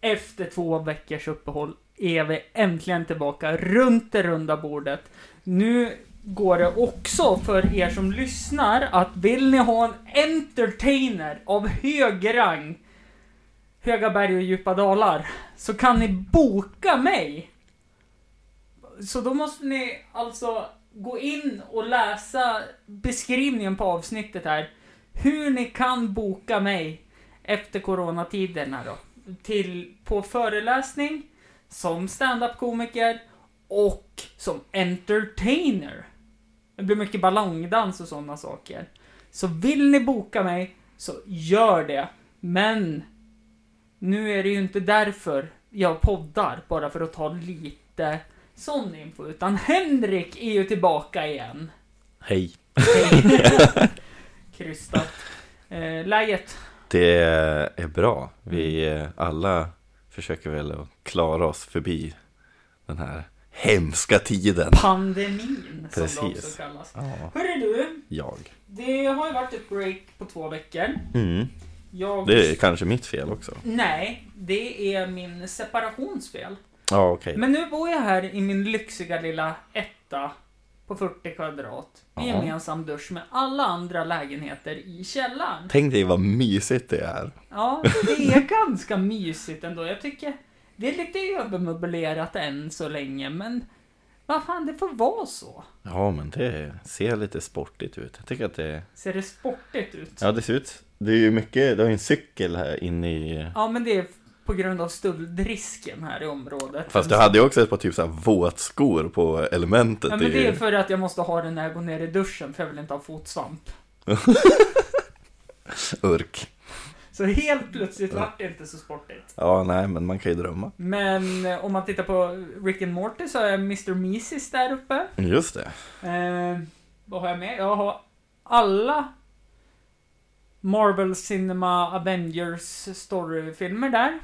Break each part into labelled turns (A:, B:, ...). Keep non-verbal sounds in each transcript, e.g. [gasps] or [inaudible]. A: Efter två veckors uppehåll är vi äntligen tillbaka runt det runda bordet. Nu går det också för er som lyssnar att vill ni ha en entertainer av hög rang, höga berg och djupa dalar, så kan ni boka mig. Så då måste ni alltså gå in och läsa beskrivningen på avsnittet här. Hur ni kan boka mig efter coronatiderna då. Till, på föreläsning, som stand-up-komiker och som entertainer. Det blir mycket ballongdans och sådana saker. Så vill ni boka mig, så gör det. Men nu är det ju inte därför jag poddar, bara för att ta lite sån info, utan Henrik är ju tillbaka igen.
B: Hej.
A: Krystat. Eh, läget?
B: Det är bra. Vi eh, alla försöker väl att klara oss förbi den här hemska tiden.
A: Pandemin, som det
B: Precis.
A: också kallas.
B: Ja,
A: Hörru du,
B: jag.
A: det har ju varit ett break på två veckor.
B: Mm.
A: Jag...
B: Det är kanske mitt fel också.
A: Nej, det är min separationsfel.
B: Ja, okej.
A: Men nu bor jag här i min lyxiga lilla etta på 40 kvadrat. Med
B: Ja.
A: gemensam dusch med alla andra lägenheter i källaren.
B: Tänk dig vad mysigt det är. [laughs]
A: Ja, det är ganska mysigt ändå. Jag tycker det är lite övermöblerat än så länge, men vad fan, det får vara så.
B: Ja, men det ser lite sportigt ut. Jag tycker att det...
A: Ser det sportigt ut?
B: Ja, det ser ut... Det är ju mycket... Du har ju en cykel här inne i...
A: Ja, men det är på grund av stöldrisken här i området.
B: Fast du hade ju också ett par typ så här våtskor på elementet.
A: Ja, men det är
B: ju-
A: för att jag måste ha den när jag går ner i duschen, för jag vill inte ha fotsvamp.
B: Urk.
A: Så helt plötsligt vart det inte så sportigt.
B: Ja, nej, men man kan ju drömma.
A: Men eh, om man tittar på Rick and Morty så har jag Mr. Mises där uppe.
B: Just det.
A: Eh, vad har jag med? Jag har alla Marvel Cinema Avengers storyfilmer där.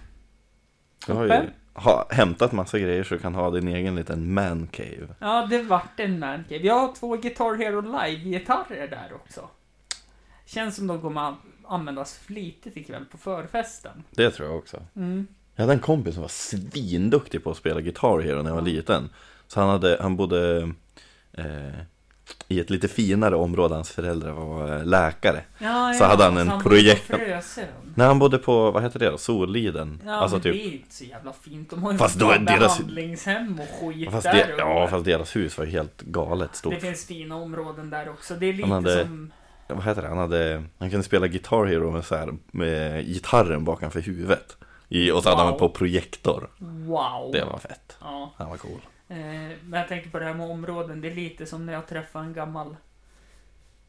B: Du har
A: Uppe.
B: ju ha, hämtat massa grejer så du kan ha din egen liten mancave.
A: Ja, det vart en mancave. Jag har två Guitar Hero Live-gitarrer där också. Känns som de kommer att användas flitigt ikväll på förfesten.
B: Det tror jag också.
A: Mm.
B: Jag hade en kompis som var svinduktig på att spela gitarr Hero när jag var liten. Så han, hade, han bodde eh, i ett lite finare område, hans föräldrar var eh, läkare.
A: Ja,
B: Så hade han en projekt-
A: Frösön.
B: När han bodde på, vad heter det då, Soliden?
A: Ja,
B: alltså
A: men det
B: typ,
A: är ju inte så jävla fint. De har ju
B: Fast då är
A: fan
B: deras-
A: behandlingshem och skit
B: fast
A: där
B: det,
A: uppe.
B: ja, fast deras hus var ju helt galet
A: Det
B: stort.
A: finns fina områden där också. Det är lite
B: Han hade-
A: som...
B: Vad heter det, han, hade, han kunde spela Guitar Hero med, så här, med gitarren bakanför huvudet. I, och så hade han
A: Wow.
B: på projektor.
A: Wow!
B: Det var fett.
A: Ja.
B: Han var cool.
A: Eh, men jag tänker på det här med områden. Det är lite som när jag träffar en gammal...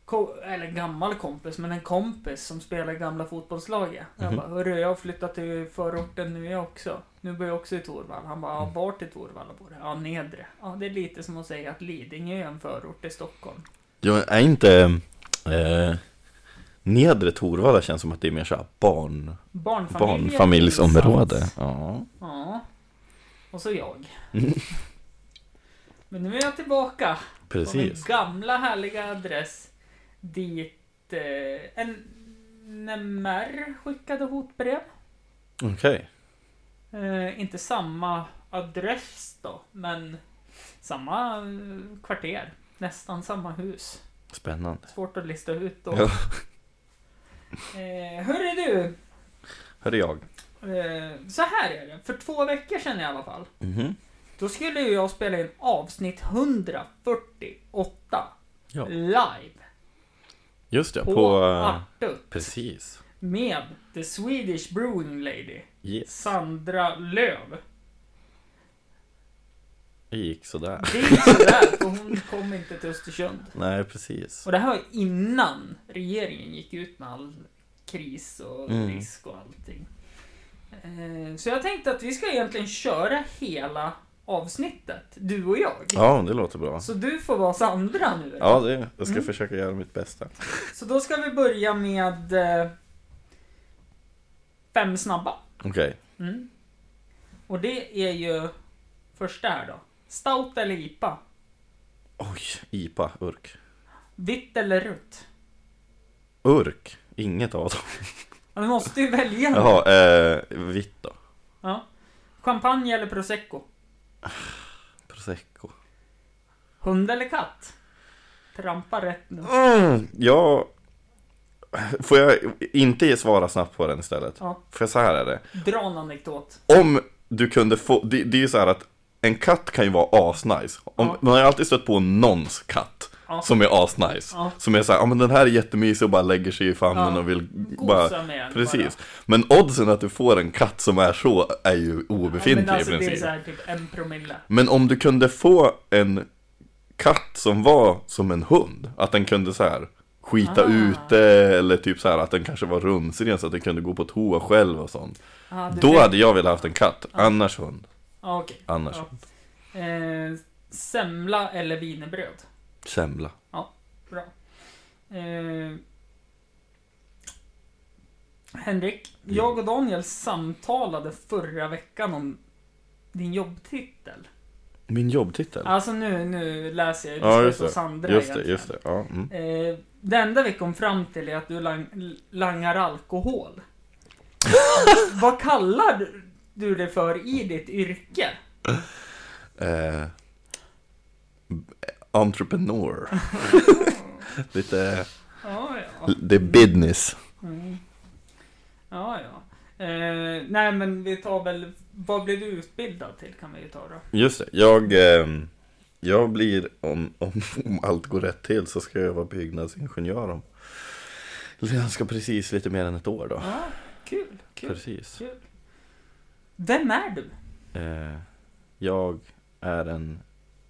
A: Ko- eller gammal kompis, men en kompis som spelar i gamla fotbollslaget. Jag
B: Mhm.
A: bara, hörru, jag har flyttat till förorten nu jag också. Nu bor jag också i Torvalla. Han bara, ja, vart i Torvalla bor du? Ja, nedre. Ja, det är lite som att säga att Lidingö är en förort i Stockholm.
B: Jag är inte... Eh, nedre Torvalla känns som att det är mer såhär barn,
A: Barnfamiljer.
B: barnfamiljsområde.
A: tillsammans.
B: Ja.
A: Ja. Och så jag. Men nu är jag tillbaka. På min
B: Precis.
A: gamla härliga adress. Dit eh, en NMR skickade hotbrev.
B: Okej.
A: Eh, inte samma adress då, men samma eh, kvarter. Nästan samma hus.
B: Spännande.
A: Svårt att lista ut då.
B: Ja.
A: Eh, hörru du!
B: Hörru jag.
A: Eh, så här är det. För två veckor sedan i alla fall.
B: Mhm.
A: Då skulle ju jag spela in avsnitt 148
B: Ja.
A: live
B: Just det,
A: på,
B: på...
A: på
B: eh,
A: Artup.
B: precis.
A: med The Swedish Brewing Lady,
B: Yes.
A: Sandra Löv.
B: Det gick sådär.
A: Det är sådär, för hon kom inte till Östersund.
B: Nej, precis.
A: Och det här var innan regeringen gick ut med all kris och
B: Mm.
A: risk och allting. Eh, Så jag tänkte att vi ska egentligen köra hela avsnittet, du och jag.
B: Ja, det låter bra.
A: Så du får vara Sandra nu.
B: Ja, det, jag ska
A: Mm.
B: försöka göra mitt bästa.
A: Så då ska vi börja med eh, fem snabba.
B: Okej.
A: Mm. Och det är ju första här då. Stout eller IPA?
B: Oj, IPA, urk.
A: Vitt eller rött?
B: Urk? Inget av dem.
A: Ja, Du måste ju välja.
B: Jaha, eh, vitt då.
A: Ja. Champagne eller prosecco?
B: Prosecco.
A: Hund eller katt? Trampa rätt nu.
B: Mm, ja... Får jag inte svara snabbt på den istället?
A: Ja.
B: För så här är det.
A: Dra en anekdot.
B: Om du kunde få, det, det är ju så här att en katt kan ju vara asnice. Om,
A: Ja.
B: Man har ju alltid stött på någons katt
A: Ja.
B: som är asnice.
A: Ja.
B: Som är så här, ja men den här är jättemysig och bara lägger sig i famnen
A: Ja.
B: och vill
A: Gosa
B: bara...
A: med den
B: Precis. Men oddsen att du får en katt som är så är ju
A: Ja,
B: obefintlig
A: men alltså
B: i
A: det är
B: princip.
A: så här typ en promille.
B: Men om du kunde få en katt som var som en hund, att den kunde så här skita
A: Ah.
B: ute eller typ så här att den kanske var rumsren så att den kunde gå på toa själv och sånt.
A: Ja, det
B: Då
A: blir-
B: hade jag velat haft en katt, annars hund.
A: Ja, okej.
B: Annars
A: Ja. Eh, semla eller wienerbröd?
B: semla.
A: Bra. Eh, Henrik,
B: Mm.
A: jag och Daniel samtalade förra veckan om din jobbtitel.
B: Min jobbtitel?
A: Alltså nu, nu läser jag ju
B: Mm. Ja, just
A: Lisbeth och
B: det.
A: Sandra
B: Just det,
A: egentligen.
B: just det. Ja, mm.
A: Eh, det enda vi kom fram till är att du lang- langar
B: [laughs]
A: alkohol. Vad kallar du det för i ditt yrke?
B: eh, entrepreneur.
A: [laughs]
B: [laughs] Lite,
A: Ja, ja.
B: det är business.
A: Mm. Ja, ja. Eh, nej, men vi tar väl... Vad blev du utbildad till kan vi ju ta då.
B: Just det, jag, ehm, jag blir, om, om, om allt går rätt till, så ska jag vara byggnadsingenjör om ganska precis lite mer än ett år då.
A: Ja, Ah, kul, kul,
B: Ah, Precis.
A: kul. Vem är du?
B: Eh, jag är en,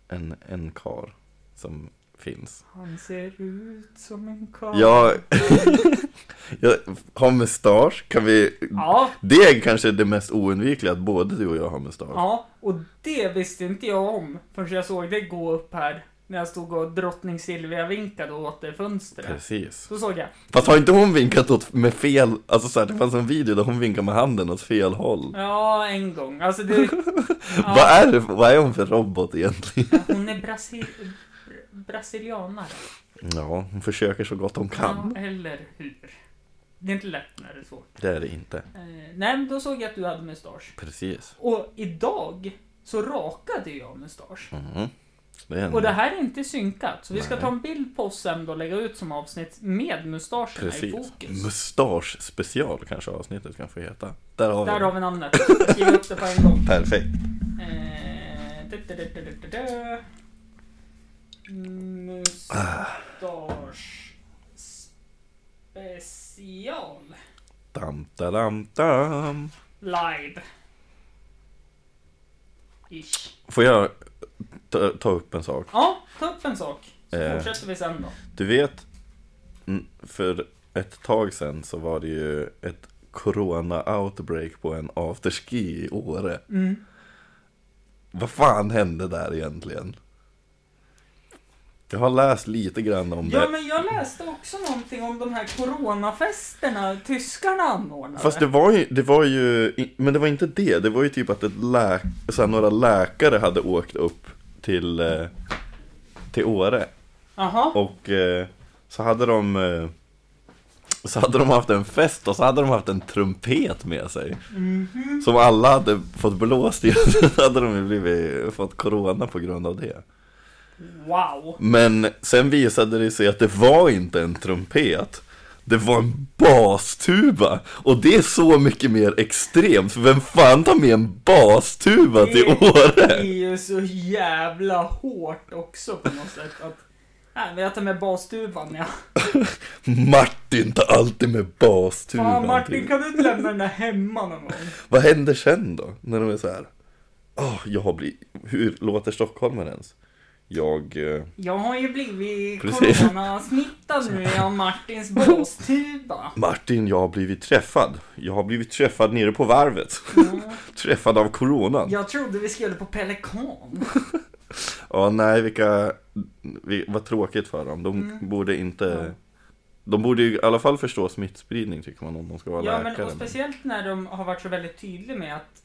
B: en, en kar som finns.
A: Han ser ut som en karl.
B: Jag, [laughs] jag har mustasch, kan vi...
A: Ja,
B: Det är kanske det mest oundvikliga, att både du och jag har mustasch.
A: ja, och det visste inte jag om förrän jag såg dig gå upp här när jag stod och drottning Silvia vinkade åt det fönstret.
B: Precis.
A: Så såg jag.
B: Fast har inte hon vinkat åt med fel, alltså så här, det fanns en video där hon vinkar med handen åt fel håll.
A: Ja, en gång. Alltså
B: [laughs]
A: det...
B: Vad,
A: Ja,
B: är det, för- vad är hon för robot egentligen?
A: hon är brasi... br- brasilianare.
B: Ja, hon försöker så gott hon kan.
A: Ja, eller hur? Det är inte lätt när det är svårt.
B: Det är det inte.
A: Eh, nej, men då såg jag att du hade mustasch.
B: Precis.
A: Och idag så rakade jag mustasch.
B: Mhm. Det är en...
A: Och det här är inte synkat, så vi ska
B: Nej.
A: ta en bild på oss sen och lägga ut som avsnitt med mustascherna i
B: Precis.
A: fokus.
B: Mustasch special kanske avsnittet kan få heta. Där har vi
A: Där
B: den.
A: har vi namnet. Skriv upp det på en gång.
B: Perfekt.
A: Eh, du, du, du, du, du, du, du. Mustasch special
B: Dam, da, dam, dam.
A: live. Ish.
B: Får jag ta, ta upp en sak?
A: Ja, ta upp en sak. Så
B: Eh.
A: fortsätter vi sen då.
B: Du vet, mm, för ett tag sedan så var det ju ett corona-outbreak på en afterski i Åre.
A: Mm.
B: Vad fan hände där egentligen? Jag har läst lite grann om det.
A: Ja, men jag läste också någonting om de här coronafesterna tyskarna anordnade.
B: Fast det var, ju, det var ju, i- men det var inte det. Det var ju typ att ett lä, så här, några läkare hade åkt upp till, eh, till Åre.
A: Jaha.
B: Och eh, så hade de eh, så hade de haft en fest och så hade de haft en trumpet med sig. Som alla hade fått blåst i. [laughs] Så hade de ju blivit, fått corona på grund av det.
A: Wow.
B: Men sen visade det sig att det var inte en trumpet Det var en bastuba! Och det är så mycket mer extremt, för vem fan tar med en bastuba till
A: Det- Det är
B: Åre?
A: ju så jävla hårt också på något sätt att... Nej, men jag tar med basstuvan ja.
B: Martin tar alltid med
A: Fan
B: bastuban
A: Martin,
B: till.
A: kan du inte lämna den där hemma någon gång?
B: Vad händer sen då? När de är så här. Åh, jag har blivit... Hur låter stockholmaren ens? Jag... eh,
A: Jag har ju blivit
B: Precis.
A: coronasmittad nu i
B: [laughs]
A: Martins bastuba.
B: Martin, jag har blivit träffad. Jag har blivit träffad nere på varvet. [laughs] träffad av coronan.
A: Mm. Jag trodde vi skulle på Pelikan.
B: Ja, nej, vilka... vi- Vad tråkigt för dem. De
A: Mm.
B: borde inte... De borde ju i alla fall förstå smittspridning, tycker man, om de ska vara
A: Ja, men
B: läkare.
A: och speciellt när de har varit så väldigt tydliga med att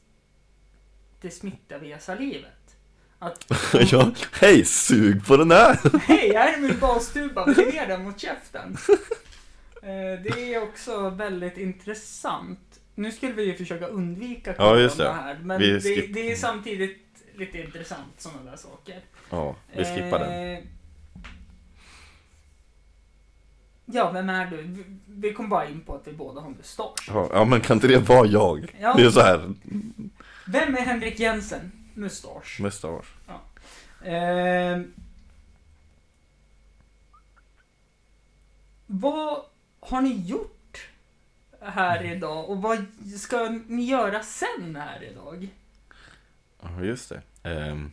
A: det smittar via salivet. Att
B: [laughs] [laughs] ja, hej, sug på den här!
A: [laughs] hej, här är min bastuba, vi
B: [laughs]
A: ner den mot käften. Eh, Det är också väldigt intressant. Nu skulle vi ju försöka undvika
B: Ja, just det.
A: här, men
B: Vi
A: det,
B: skip-
A: det är samtidigt lite intressant sådana där saker.
B: Ja, vi skippar den.
A: Eh, Ja, vem är du? Vi- Vi kom bara in på att vi båda har mustasch.
B: Ja, Ja, men kan inte det vara jag?
A: Ja.
B: Det är så här,
A: Vem är Henrik Jensen? Mustasch.
B: mustasch.
A: Ehm. vad har ni gjort här idag och vad ska ni göra sen här idag?
B: Ja, just det. Ehm,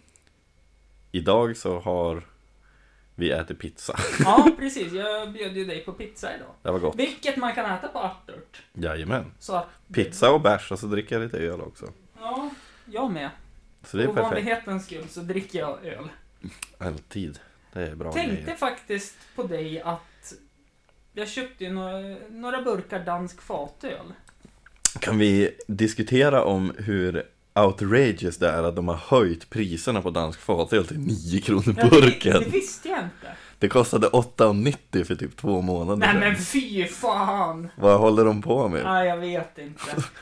B: idag så har vi ätit pizza.
A: Ja, precis. Jag bjöd ju dig på pizza idag.
B: Det var gott.
A: Vilket man kan äta på Artort.
B: Jajamän.
A: Så att,
B: Pizza och bärs och så dricker jag lite öl också.
A: Ja, jag med.
B: Så det är
A: och
B: perfekt.
A: vanlighetens skull så dricker jag öl.
B: Alltid. Det är bra
A: Tänkte
B: grejer.
A: faktiskt på dig att jag köpte ju några, några burkar dansk fatöl.
B: Kan vi diskutera om hur outrageous det är att de har höjt priserna på dansk fatöl till 9
A: Ja,
B: kronor
A: det,
B: burken?
A: det visste jag inte.
B: Det kostade 8,90 för typ två månader
A: Nej
B: sedan.
A: men fy fan!
B: Vad håller de på med?
A: Ja, jag vet inte.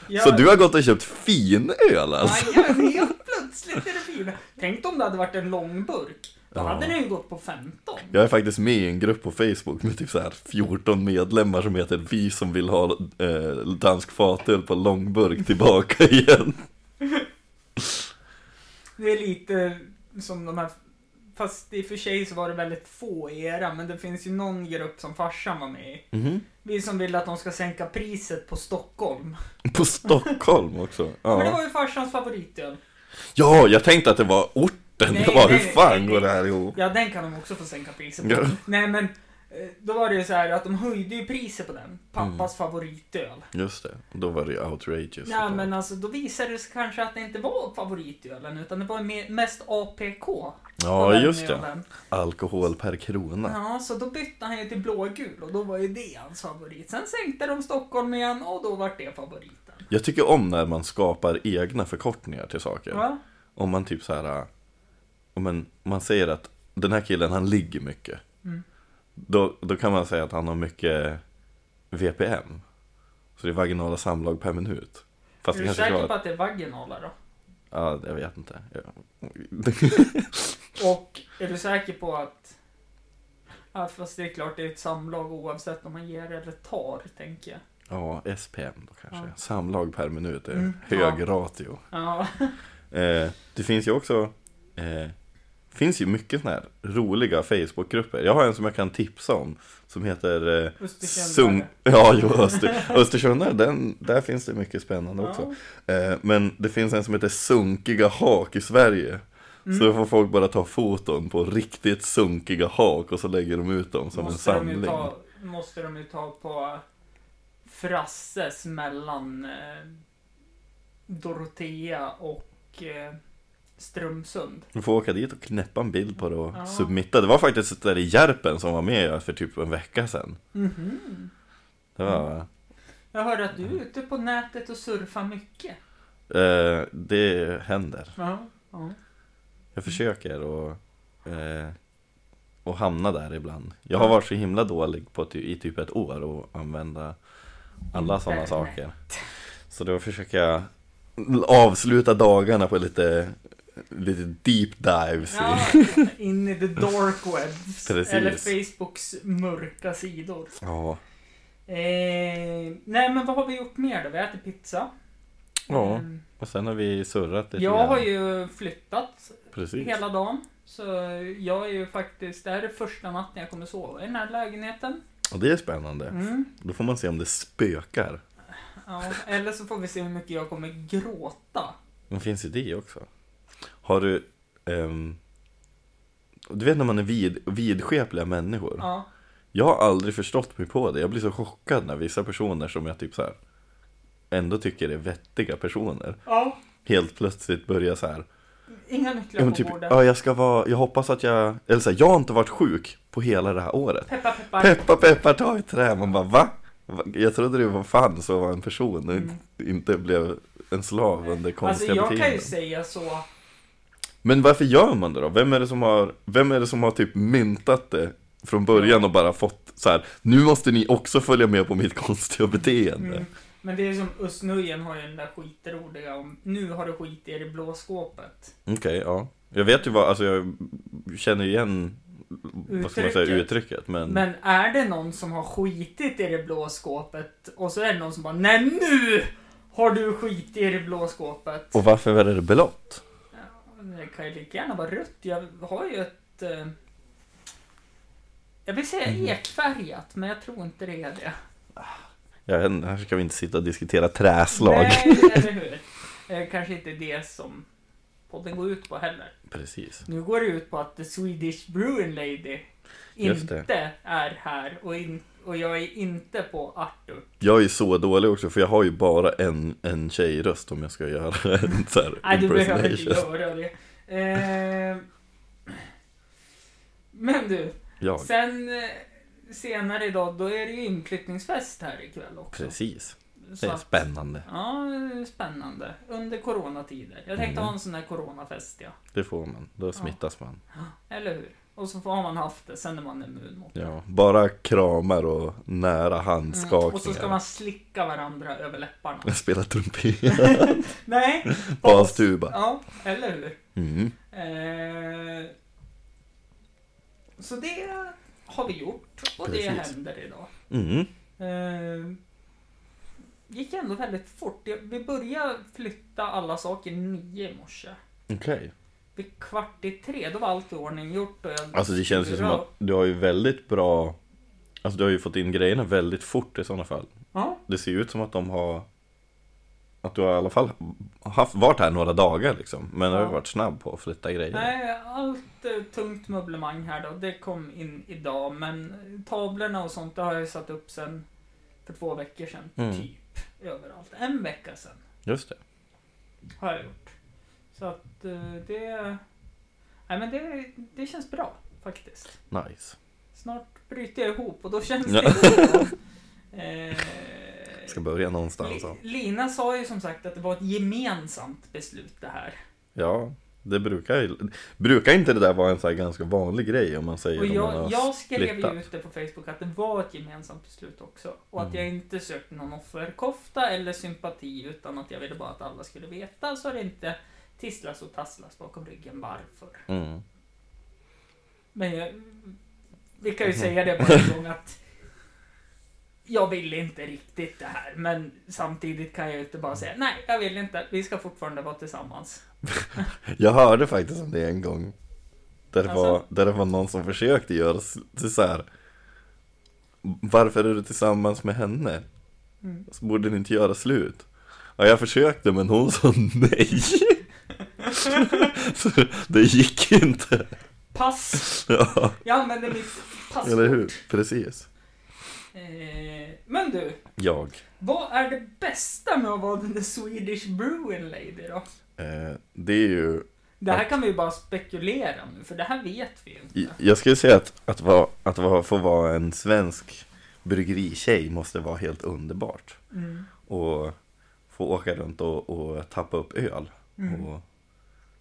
A: Jag,
B: [laughs] Så du har gått och köpt fin öl alltså?
A: Ja, jag, helt plötsligt är det fina. Tänk om det hade varit en lång burk. Då
B: Ja.
A: hade den ju gått på 15.
B: Jag är faktiskt med i en grupp på Facebook med typ så här 14 medlemmar som heter Vi som vill ha eh, dansk fatöl på långburk tillbaka [laughs] igen.
A: Det är lite som de här... Fast i och för sig så var det väldigt få i era, men det finns ju någon grupp som farsan var med i. Vi som vill att de ska sänka priset på Stockholm.
B: På Stockholm också.
A: Men det
B: Ja.
A: var ju farsans favoritöl.
B: ja, jag tänkte att det var orten.
A: Nej,
B: jag bara, hur
A: nej,
B: fan
A: nej.
B: går det här ihop?
A: Ja, den kan de också få sänka priset på.
B: Ja.
A: Nej, men eh, då var det ju så här att de höjde ju priset på den. Pappas favoritöl.
B: Just det, då var Mm. det ju outrageous.
A: Nej, men alltså då visade det sig kanske att det inte var favoritölen, utan det var mer- mest APK.
B: ja,
A: av den
B: just det.
A: ölen.
B: Alkohol per krona.
A: Ja, så då bytte han ju till blågul och då var ju det hans favorit. Sen sänkte de Stockholm igen och då vart det favoriten.
B: Jag tycker om när man skapar egna förkortningar till saker.
A: Va?
B: Om man typ så här, äh, om man, man säger att den här killen han ligger mycket.
A: Mm.
B: Då, då kan man säga att han har mycket VPM. Så det är vaginala samlag per minut. Fast
A: Är
B: det
A: du
B: kanske ska
A: säker på
B: vara...
A: att det är vaginala då?
B: Ja, jag vet inte. Ja.
A: [laughs] Och är du säker på att... Ja, fast det är klart, det är ett samlag oavsett om man ger eller tar, tänker jag.
B: Ja, SPM då kanske.
A: Ja.
B: Samlag per minut är
A: Mm,
B: hög
A: ja.
B: ratio.
A: Ja,
B: Eh, det finns ju också eh, finns ju mycket såna här roliga Facebookgrupper. Jag har en som jag kan tipsa om som heter eh, Sung...
A: Östersundare.
B: [laughs] Ja, jo, Öster... Östersundare, den, där finns det mycket spännande också.
A: Ja.
B: Eh, men det finns en som heter Sunkiga hak i Sverige. Så
A: Mm.
B: då får folk bara ta foton på riktigt sunkiga hak och så lägger de ut dem som
A: måste
B: en
A: de ju
B: samling.
A: ta, måste de ju ta på eh, Frasses mellan eh, Dorotea och eh, Strömsund.
B: Du får åka dit och knäppa en bild på det och
A: Ja.
B: submitta. Det var faktiskt ett där i Järpen som var med för typ en vecka sedan. Det var...
A: Jag hörde att du
B: Mm.
A: är ute på nätet och surfar mycket.
B: Eh, det händer.
A: Ja. ja.
B: Jag försöker och, eh, och hamna där ibland. Jag har varit så himla dålig på ty- i typ ett år och använda alla sådana
A: Internet.
B: saker. Så då försöker jag avsluta dagarna på lite, lite deep dives. i- [laughs]
A: ja in i the dark web.
B: Precis.
A: Eller Facebooks mörka sidor.
B: Ja.
A: Eh, nej men vad har vi gjort mer då? Vi äter pizza.
B: ja,
A: Mm.
B: och sen har vi surrat lite
A: Jag
B: grann.
A: har ju flyttat
B: Precis.
A: hela dagen. Så jag är ju faktiskt, det här är första natten jag kommer sova i den här lägenheten.
B: Och det är spännande.
A: Mm.
B: Då får man se om det spökar.
A: Ja, eller så får vi se hur mycket jag kommer gråta.
B: Men finns ju det också. Har du... ehm, du vet när man är vid, vidskepliga människor.
A: Ja.
B: Jag har aldrig förstått mig på det. Jag blir så chockad när vissa personer som jag typ så här ändå tycker är vettiga personer
A: ja.
B: helt plötsligt börjar så här.
A: Inga
B: Ja,
A: nycklar
B: men
A: på
B: typ,
A: bordet.
B: ja, jag ska vara, jag hoppas att jag, eller så här, jag har inte varit sjuk på hela det här året.
A: Peppa peppar.
B: Peppa peppar ta i trä, man bara va? Va? Jag trodde det var fan så var en person och inte blev en slav under
A: Mm. alltså
B: konstiga
A: jag kan ju
B: beteenden.
A: säga så.
B: Men varför gör man det då? Vem är det som har, vem är det som har typ myntat det från början och bara fått så här, nu måste ni också följa med på mitt [laughs] konstiga beteende.
A: Mm. Men det är som Östnöjen har ju den där skitroliga om nu har du skit i det blå skåpet.
B: Okej, ja. Jag vet ju vad, alltså jag känner ju igen vad ska man säga,
A: Uttrycket.
B: uttrycket men...
A: Men är det någon som har skitit i det blå skåpet och så är det någon som bara Nej nu har du skit i det blå skåpet.
B: Och varför var det blått?
A: Ja, Det kan ju lika gärna vara rött. Jag har ju ett... eh, Jag vill säga
B: Mm.
A: ekfärgat, men jag tror inte det är det.
B: Jag vet inte, här ska vi inte sitta och diskutera träslag.
A: Nej, eller hur? Eh, Kanske inte det som podden går ut på heller.
B: Precis.
A: Nu går det ut på att The Swedish Bruin Lady
B: Just det.
A: inte är här och, in, och jag är inte på Arthur.
B: Jag är så dålig också för jag har ju bara en, en tjejröst om jag ska göra [laughs] en så här
A: Nej, du behöver inte
B: impersonation.
A: göra det. Eh, men du,
B: Jag,
A: sen eh, senare idag, då är det ju inflyttningsfest här ikväll också.
B: precis.
A: Så
B: Det är
A: att-
B: spännande.
A: Ja, spännande. Under coronatider. Jag tänkte
B: Mm.
A: ha en sån här coronafest, ja. [gasps]
B: Det får man. Då smittas man.
A: Eller hur? Och så har man haft det, sen är man immun mot det.
B: Ja, bara kramar och nära
A: Mm.
B: handskakningar.
A: Och så ska man slicka varandra över läpparna.
B: [laughs]
A: [laughs]
B: Spela trumpet.
A: Nej!
B: Bastuba.
A: Ja, eller hur?
B: Mm.
A: Eh, så det har vi gjort och det
B: Precis.
A: händer idag.
B: Mm.
A: Eh, gick ändå väldigt fort. Jag- Vi började flytta alla saker nio i morse.
B: Okej.
A: Vid kvart i tre, då var allt i ordning gjort. Och jag
B: Alltså det känns ju som
A: Bra.
B: att du har ju väldigt bra Alltså du har ju fått in grejerna väldigt fort i sådana fall
A: Ja,
B: Det ser ju ut som att de har Att du har i alla fall haft, varit här några dagar liksom Men du har
A: Ja.
B: ju varit snabb på att flytta grejer
A: nej, allt eh, tungt möblemang här då, det kom in idag. Men tavlorna och sånt, det har jag ju satt upp sen för två veckor sedan.
B: Mm.
A: Typ överallt. En vecka sedan.
B: Just det
A: har jag gjort. Så att eh, det... Nej men det, det känns bra faktiskt.
B: Nice
A: Snart bryter jag ihop och då känns
B: Ja.
A: det inte bra. Eh,
B: Ska alltså. börja någonstans
A: Li-
B: ja.
A: Lina sa ju som sagt att det var ett gemensamt beslut det här.
B: Ja det brukar ju Brukar inte det där vara en så här ganska vanlig grej om man säger
A: Och
B: om man har
A: jag, jag skrev
B: splittat?
A: ju ute på Facebook att det var ett gemensamt beslut också. Och att
B: Mm.
A: jag inte sökte någon offerkofta eller sympati utan att jag ville bara att alla skulle veta så det inte tisslas och tasslas bakom ryggen varför.
B: mm.
A: Men jag, vi kan ju
B: Mm-hmm.
A: säga det på
B: [laughs]
A: en gång att jag vill inte riktigt det här, men samtidigt kan jag ju inte bara säga nej, jag vill inte. Vi ska fortfarande vara tillsammans.
B: Jag hörde faktiskt om det en gång. Där det,
A: Alltså?
B: var, där det var någon som försökte göra s- till så här. Varför är du tillsammans med henne?
A: Mm.
B: Så borde ni inte göra slut. Ja, jag försökte men hon sa nej. [laughs] så det gick inte.
A: Pass!
B: [laughs] Ja,
A: Jag använder mitt pass.
B: eller hur? Precis.
A: Eh, men du,
B: Jag.
A: vad är det bästa med att vara den där Swedish Bruin Lady då?
B: Eh, det är ju
A: Det här kan vi ju bara spekulera nu, för det här vet vi ju
B: I-
A: inte.
B: Jag skulle säga att, att, vara, att vara, få vara en svensk bryggeritjej måste vara helt underbart.
A: Mm.
B: Och få åka runt och, och tappa upp öl
A: Mm.
B: och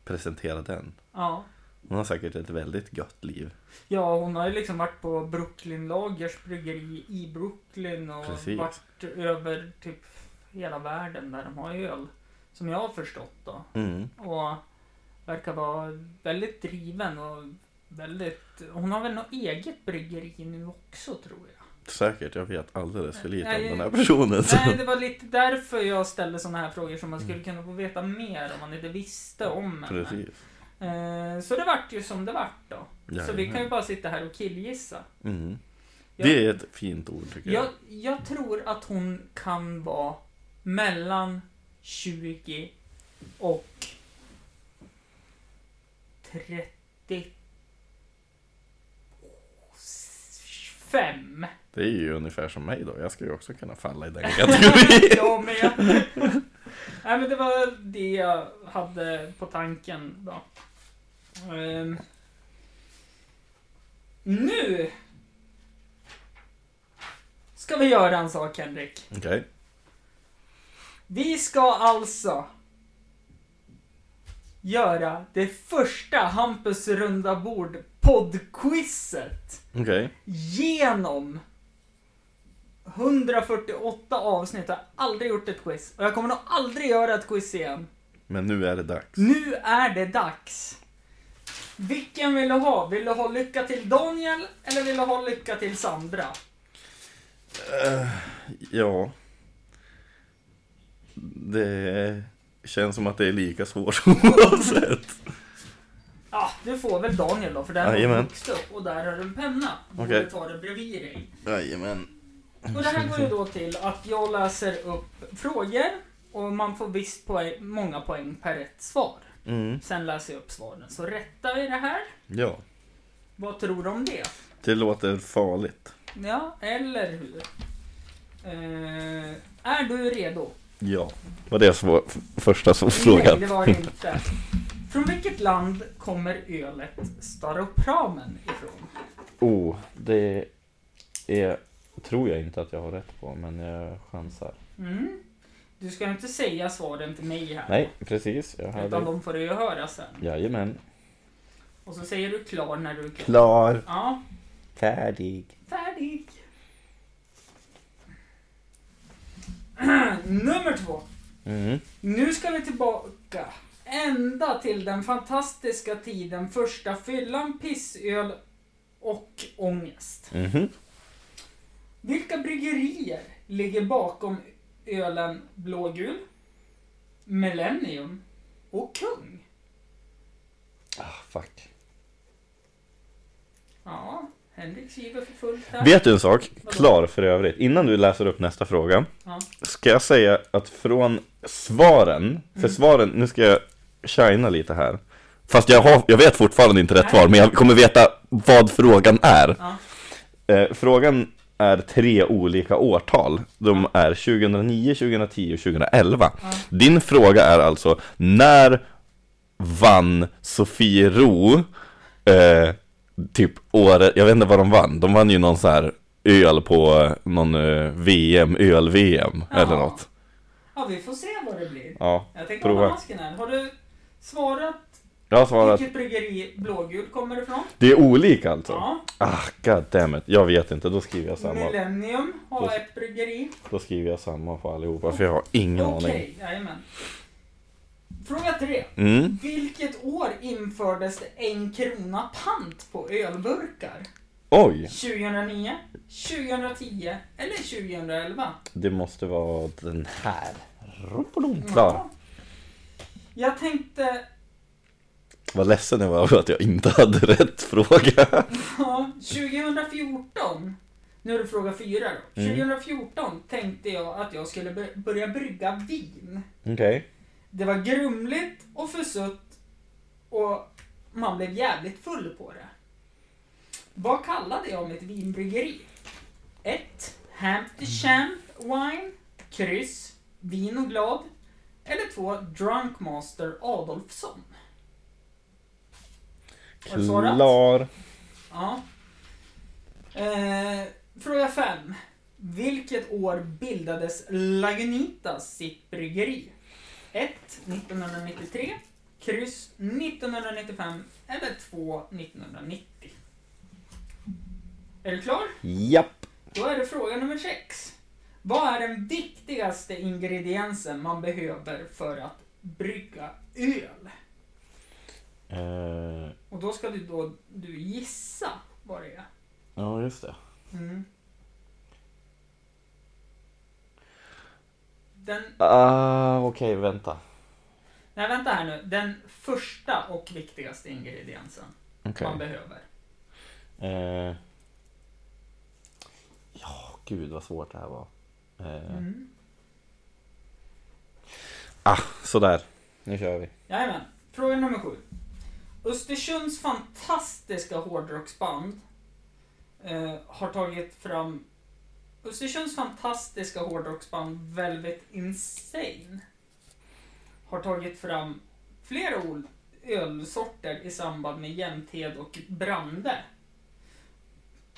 B: presentera den.
A: Ja.
B: Hon har säkert ett väldigt gött liv.
A: Ja, hon har ju liksom varit på Brooklyn Lagers bryggeri i Brooklyn och
B: Precis.
A: varit över typ hela världen där de har öl. Som jag har förstått då.
B: Mm.
A: Och verkar vara väldigt driven och väldigt... Hon har väl något eget bryggeri nu också tror
B: [laughs]
A: jag.
B: Säkert, jag vet alldeles för lite
A: Nej.
B: om den här personen. så-
A: Nej, det var lite därför jag ställde sådana här frågor som man skulle kunna få veta mer om man inte visste om henne.
B: Mm. Precis.
A: Eh, Så det vart ju som det vart då. Så vi
B: Jajamän.
A: kan ju bara sitta här och killgissa.
B: Mm.
A: Jag-
B: Det är ett fint ord tycker jag.
A: Jag, jag tror att hon kan vara mellan 20 och 35.
B: Det är ju ungefär som mig då. Jag ska ju också kunna falla i den kategorin.
A: [laughs] jag med. Nej men det var det jag hade på tanken då. Ehm. Nu! Ska vi göra en sak Henrik.
B: Okej.
A: Vi ska alltså göra det första Hampus runda bord poddquizet
B: Okej.
A: genom 148 avsnitt har jag aldrig gjort ett quiz. Och jag kommer nog aldrig göra ett quiz igen.
B: Men nu är det dags.
A: Nu är det dags. Vilken vill du ha? Vill du ha lycka till Daniel eller vill du ha lycka till Sandra?
B: Ja. Det känns som att det är lika svårt [laughs] oavsett.
A: Ja, du får väl Daniel då, för där har du
B: Jajamän.
A: vuxit upp och där har du en penna. Du
B: Okej.
A: borde ta det bredvid dig.
B: Jajamän.
A: Och det här går ju då till att jag läser upp frågor och man får visst poäng, många poäng per rätt svar.
B: Mm.
A: Sen läser jag upp svaren. Så rätta vi det här.
B: Ja.
A: Vad tror du om det?
B: Det låter farligt.
A: Ja, eller hur? Eh, är du redo?
B: Ja. Var det svår, f- första så- frågan?
A: Nej, det var det inte. Från vilket land kommer ölet Staropramen ifrån?
B: [laughs] Oh, det är... Tror jag inte att jag har rätt på, men jag chansar.
A: Mm. Du ska inte säga svaren till mig här.
B: Nej, precis. Jag
A: Utan
B: hade...
A: de får du ju höra sen.
B: Jajamän.
A: Och så säger du klar när du är klar.
B: Klar,
A: Ja,
B: färdig.
A: färdig. [clears throat] Nummer två.
B: Mm.
A: Nu ska vi tillbaka. Ända till den fantastiska tiden första fyllan, pissöl och ångest.
B: Mhm.
A: Vilka bryggerier ligger bakom ölen Blågul, Millennium och Kung?
B: Ah, fuck.
A: Ja, Henrik skriver för fullt här.
B: Vet du en sak?
A: Vadå?
B: Klar för övrigt. Innan du läser upp nästa fråga
A: Ja.
B: ska jag säga att från svaren,
A: Mm.
B: för svaren, nu ska jag shina lite här. Fast jag, har, jag vet fortfarande inte rätt
A: Nej.
B: svar, men jag kommer veta vad frågan är.
A: Ja.
B: Eh, frågan är tre olika årtal. De är 2009, 2010 och 2011.
A: Ja.
B: Din fråga är alltså, när vann Sofiero eh, typ året, jag vet inte vad de vann, de vann ju någon så här öl på eh, någon eh, VM, öl-VM eller
A: Ja.
B: något.
A: ja, vi får se vad det blir.
B: Ja,
A: Jag tänker
B: Prova.
A: hålla masken här. Har du svarat
B: jag har svarat.
A: vilket bryggeri Blågul kommer ifrån?
B: Det är olika alltså?
A: Ja.
B: Ah, goddammit, jag vet inte, då skriver jag samma.
A: Millennium
B: Då-
A: har ett bryggeri.
B: Då skriver jag samma på allihopa, för jag har ingen aning.
A: Okej, jajamän. Fråga tre.
B: Mm.
A: Vilket år infördes det en krona pant på ölburkar?
B: Oj,
A: 2009, 2010 eller 2011?
B: det måste vara den här. Robodoom,
A: Ja.
B: Klar.
A: Jag tänkte,
B: Vad ledsen jag var över att jag inte hade [laughs] rätt fråga.
A: ja, 2014. Nu är det fråga fyra då.
B: Mm.
A: 2014 tänkte jag att jag skulle bör- börja brygga vin.
B: Okej.
A: Det var grumligt och försutt och man blev jävligt full på det. Vad kallade jag mitt vinbryggeri? 1. Hampty Champ Wine, kryss, vin och glad. Eller 2. Drunkmaster Adolfsson. Har du svarat?
B: Klar.
A: Ja. Eh, fråga 5. Vilket år bildades Lagunitas sitt bryggeri? 1. 1993. Kryss 1995 eller 2. 1990. Är du klar?
B: Japp.
A: Då är det fråga nummer 6. Vad är den viktigaste ingrediensen man behöver för att brygga öl?
B: Eh,
A: Och då ska du då du gissa vad det är.
B: ja, just det.
A: Mm. Den,
B: Ah, Okej, vänta.
A: nej vänta här nu. Den första och viktigaste ingrediensen
B: Okej.
A: man behöver.
B: Eh, ja, gud vad svårt det här var. Eh,
A: Mm.
B: Ah, sådär. Nu kör vi.
A: Jajamän. Fråga nummer sju. Östersunds fantastiska hårdrocksband eh, har tagit fram Östersunds fantastiska hårdrocksband Velvet Insane har tagit fram flera ol- ölsorter i samband med Jämthed och Brande.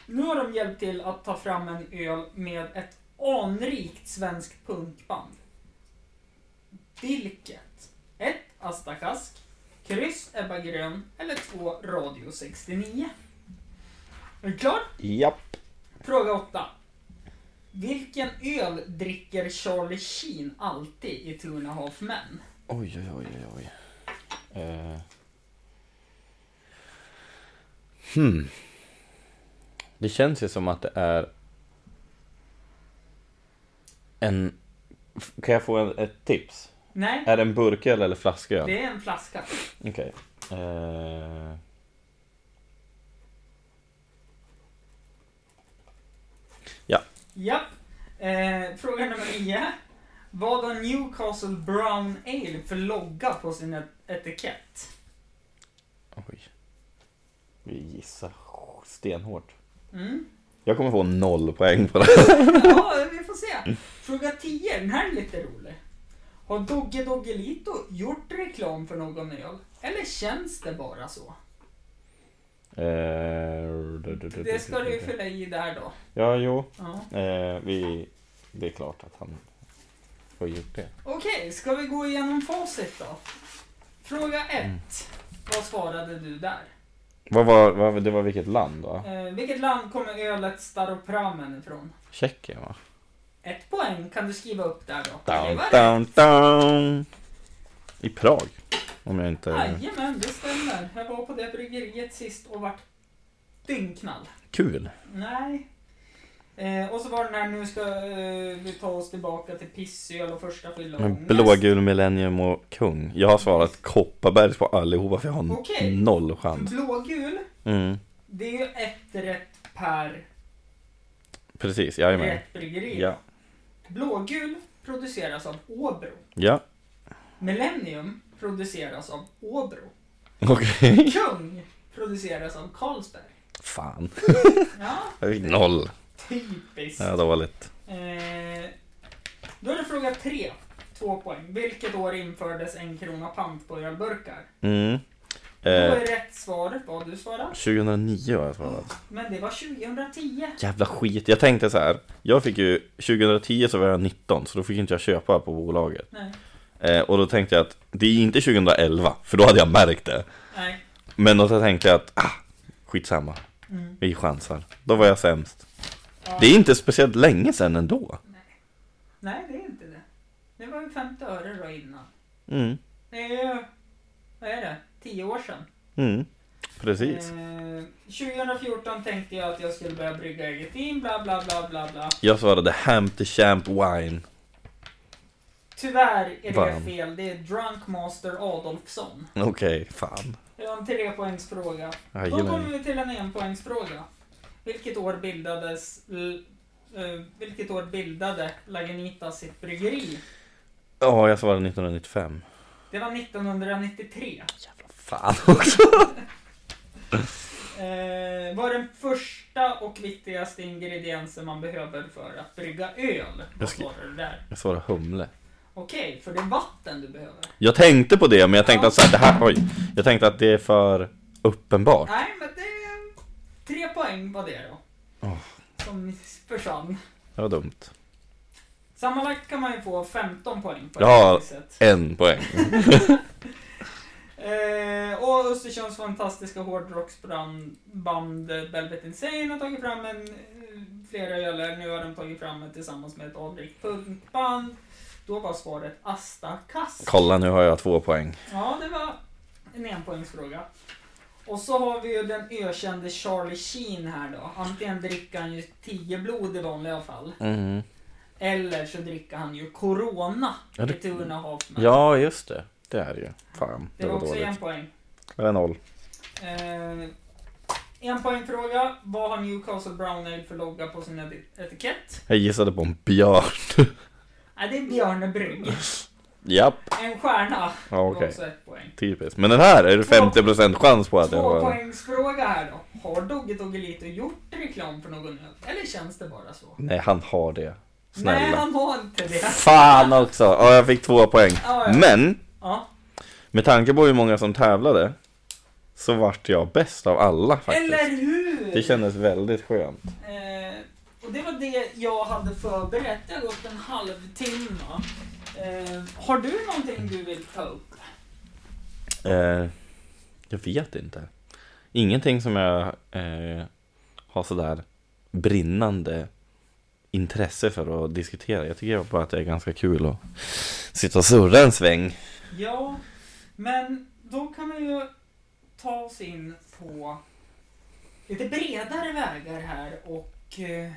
A: Nu har de hjälpt till att ta fram en öl med ett anrikt svenskt punkband. Vilket? 1. Asta Kask. Kryss Ebba Grön. Eller 2. Radio 69. Är du klar?
B: Japp.
A: Fråga 8. Vilken öl dricker Charlie Sheen alltid i Two and a Half Men?
B: Oj, oj, oj, oj, oj. Eh. Hmm. Det känns ju som att det är en... F- Kan jag få en, ett tips?
A: Nej,
B: Är det en burköl eller flasköl?
A: det är en flaska.
B: Okej. Eh.
A: Japp. Eh, fråga nummer nio. Vad har Newcastle Brown Ale för logga på sin et- etikett?
B: Oj. Vi gissar stenhårt.
A: Mm.
B: Jag kommer få noll poäng på det.
A: Ja, vi får se. Fråga 10, den här är lite rolig. Har Dogge Doggelito gjort reklam för någon öl? Eller känns det bara så?
B: Eh, du, du, du,
A: Det ska
B: du,
A: du
B: du.
A: ju fylla i där då.
B: Ja, jo.
A: Ja.
B: Eh, vi, det är klart att han har gjort det.
A: Okej, ska vi gå igenom facit då? Fråga 1.
B: Mm.
A: Vad svarade du där?
B: Vad var, vad, det var vilket land då?
A: Eh, vilket land kommer ölet Staropramen ifrån?
B: Tjeckien va?
A: Ett poäng kan du skriva upp där då. Det
B: Down,
A: var rätt.
B: down, down. I Prag. Om jag inte...
A: Jajamän, det stämmer. Jag var på det bryggeriet sist och vart dyngknall.
B: Kul.
A: Nej. Eh, och så var den här, nu ska eh, vi ta oss tillbaka till pissöl och första fylla och
B: Men
A: ångest.
B: Blågul, millennium och kung. Jag har svarat Kopparbergs på allihopa för jag har
A: Okej.
B: noll chans.
A: Blågul,
B: Mm,
A: det är ju ett rätt per
B: precis, jajamän.
A: rätt bryggeri.
B: Ja.
A: Blågul produceras av Åbro.
B: Ja.
A: Millennium produceras av
B: [laughs]
A: Åbro.
B: Okej.
A: Kung produceras av Carlsberg.
B: Fan.
A: Ja,
B: Jag fick noll.
A: typiskt.
B: Det är dåligt.
A: Eh, då är det fråga tre. Två poäng. Vilket år infördes en krona pant på ölburkar?
B: Mm.
A: Då
B: Eh,
A: är rätt svar vad du svarar.
B: 2009 har jag svarat.
A: Men det var 2010.
B: Jävla skit. Jag tänkte så här. Jag fick ju, 2010 så var jag 19 så då fick inte jag köpa på bolaget.
A: Nej.
B: Eh, och då tänkte jag att det är inte 2011 för då hade jag märkt det.
A: Nej.
B: Men då så tänkte jag att ah, skitsamma.
A: Mm.
B: Vi chansar. Då var jag sämst.
A: Ja.
B: Det är inte speciellt länge sedan ändå.
A: Nej, det är inte det. Det var ju 50 öre då innan.
B: Mm.
A: Det är ju, vad är det, 10 år sedan.
B: Mm. Precis.
A: Eh, 2014 tänkte jag att jag skulle börja brygga eget vin, bla bla bla bla bla.
B: Jag svarade Hampty Champ Wine.
A: Tyvärr är det
B: Vann.
A: fel. Det är Drunk Master Adolfsson.
B: Okej, fan.
A: Det var en trepoängsfråga.
B: Jag
A: Då
B: gillar
A: kommer
B: det.
A: vi till en enpoängsfråga. Vilket år bildades l- eh, vilket år bildade Lagunitas sitt bryggeri?
B: Ja, jag svarade 1995.
A: Det var 1993.
B: Jävla fan också.
A: Eh, vad är den första och viktigaste ingrediensen man behöver för att brygga öl?
B: Jag
A: Vad
B: ska-
A: svarar du där?
B: Jag svarade humle.
A: Okej, för det är vatten du behöver.
B: Jag tänkte på det, men jag tänkte att så här, det här, oj. Jag tänkte att det är för uppenbart.
A: Nej, men det är tre poäng var det då.
B: Åh.
A: Som försvann.
B: Det var dumt.
A: Sammanlagt kan man ju få 15 poäng på
B: Ja.
A: det här viset.
B: En poäng.
A: Eh, och Östersunds fantastiska hårdrocksband eh, Velvet Insane har tagit fram en, eh, flera öler. Nu har de tagit fram ett tillsammans med ett anrikt punkband. Då var svaret Asta Kass.
B: Kolla, nu har jag två poäng.
A: Ja, det var en enpoängsfråga. Och så har vi ju den ökände Charlie Sheen här då. Antingen dricker han ju 10 blod i vanliga fall.
B: Mm.
A: Eller så dricker han ju Corona
B: Ja, det-
A: i Two and a Half Men.
B: Ja, just det. Det är det ju. Fan,
A: det var också en poäng.
B: Det var noll.
A: Eh, en poängfråga. Vad har Newcastle Brown Ale för logga på sin eti- etikett?
B: Jag gissade på en björn.
A: Nej, det är björnebrygg.
B: Japp.
A: En stjärna.
B: Ja, okej.
A: Också ett poäng.
B: Typiskt. Men den här är det 50% chans på att jag
A: Två
B: var...
A: poängsfråga här då. Har Dogge Doggelito gjort reklam för någon öl? Eller känns det bara så?
B: Nej, han har det.
A: Nej,
B: Snälla.
A: han har inte det.
B: Fan också! Ja, jag fick två poäng.
A: Ja, ja.
B: Men,
A: Ja.
B: med tanke på hur många som tävlade, så vart jag bäst av alla faktiskt.
A: Eller hur?
B: Det kändes väldigt skönt.
A: Eh, och det var det jag hade förberett. Det har gått en halvtimme. Eh, har du någonting du vill ta upp?
B: Eh, jag vet inte. Ingenting som jag eh, har sådär brinnande intresse för att diskutera. Jag tycker bara att det är ganska kul att sitta och surra en sväng.
A: Ja, men då kan vi ju ta oss in på lite bredare vägar här och eh,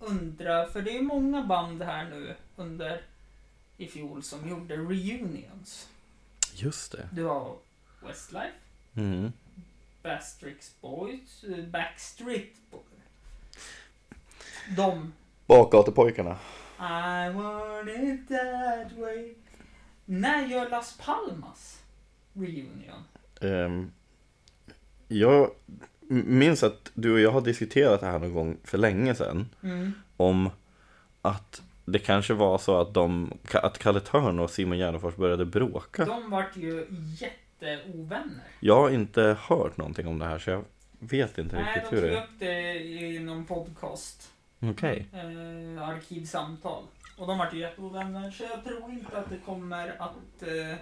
A: undra, för det är ju många band här nu under i fjol som gjorde reunions.
B: Just det.
A: Du har Westlife,
B: Mm.
A: Bastrix Boys, eh, Backstreet Boys. De
B: Bakgatupojkarna.
A: I want it that way. När gör Las Palmas reunion?
B: Ehm, jag minns att du och jag har diskuterat det här någon gång för länge sedan.
A: Mm.
B: om att det kanske var så att, de, att Kalle Törn och Simon Gärdenfors började bråka.
A: De vart ju jätteovänner.
B: Jag har inte hört någonting om det här så jag vet inte
A: Nej, de
B: riktigt hur
A: tog
B: det är.
A: upp det i någon podcast.
B: Okej.
A: Eh, arkivsamtal. Och de vart ju jätteovänner, så jag tror inte att det kommer att eh,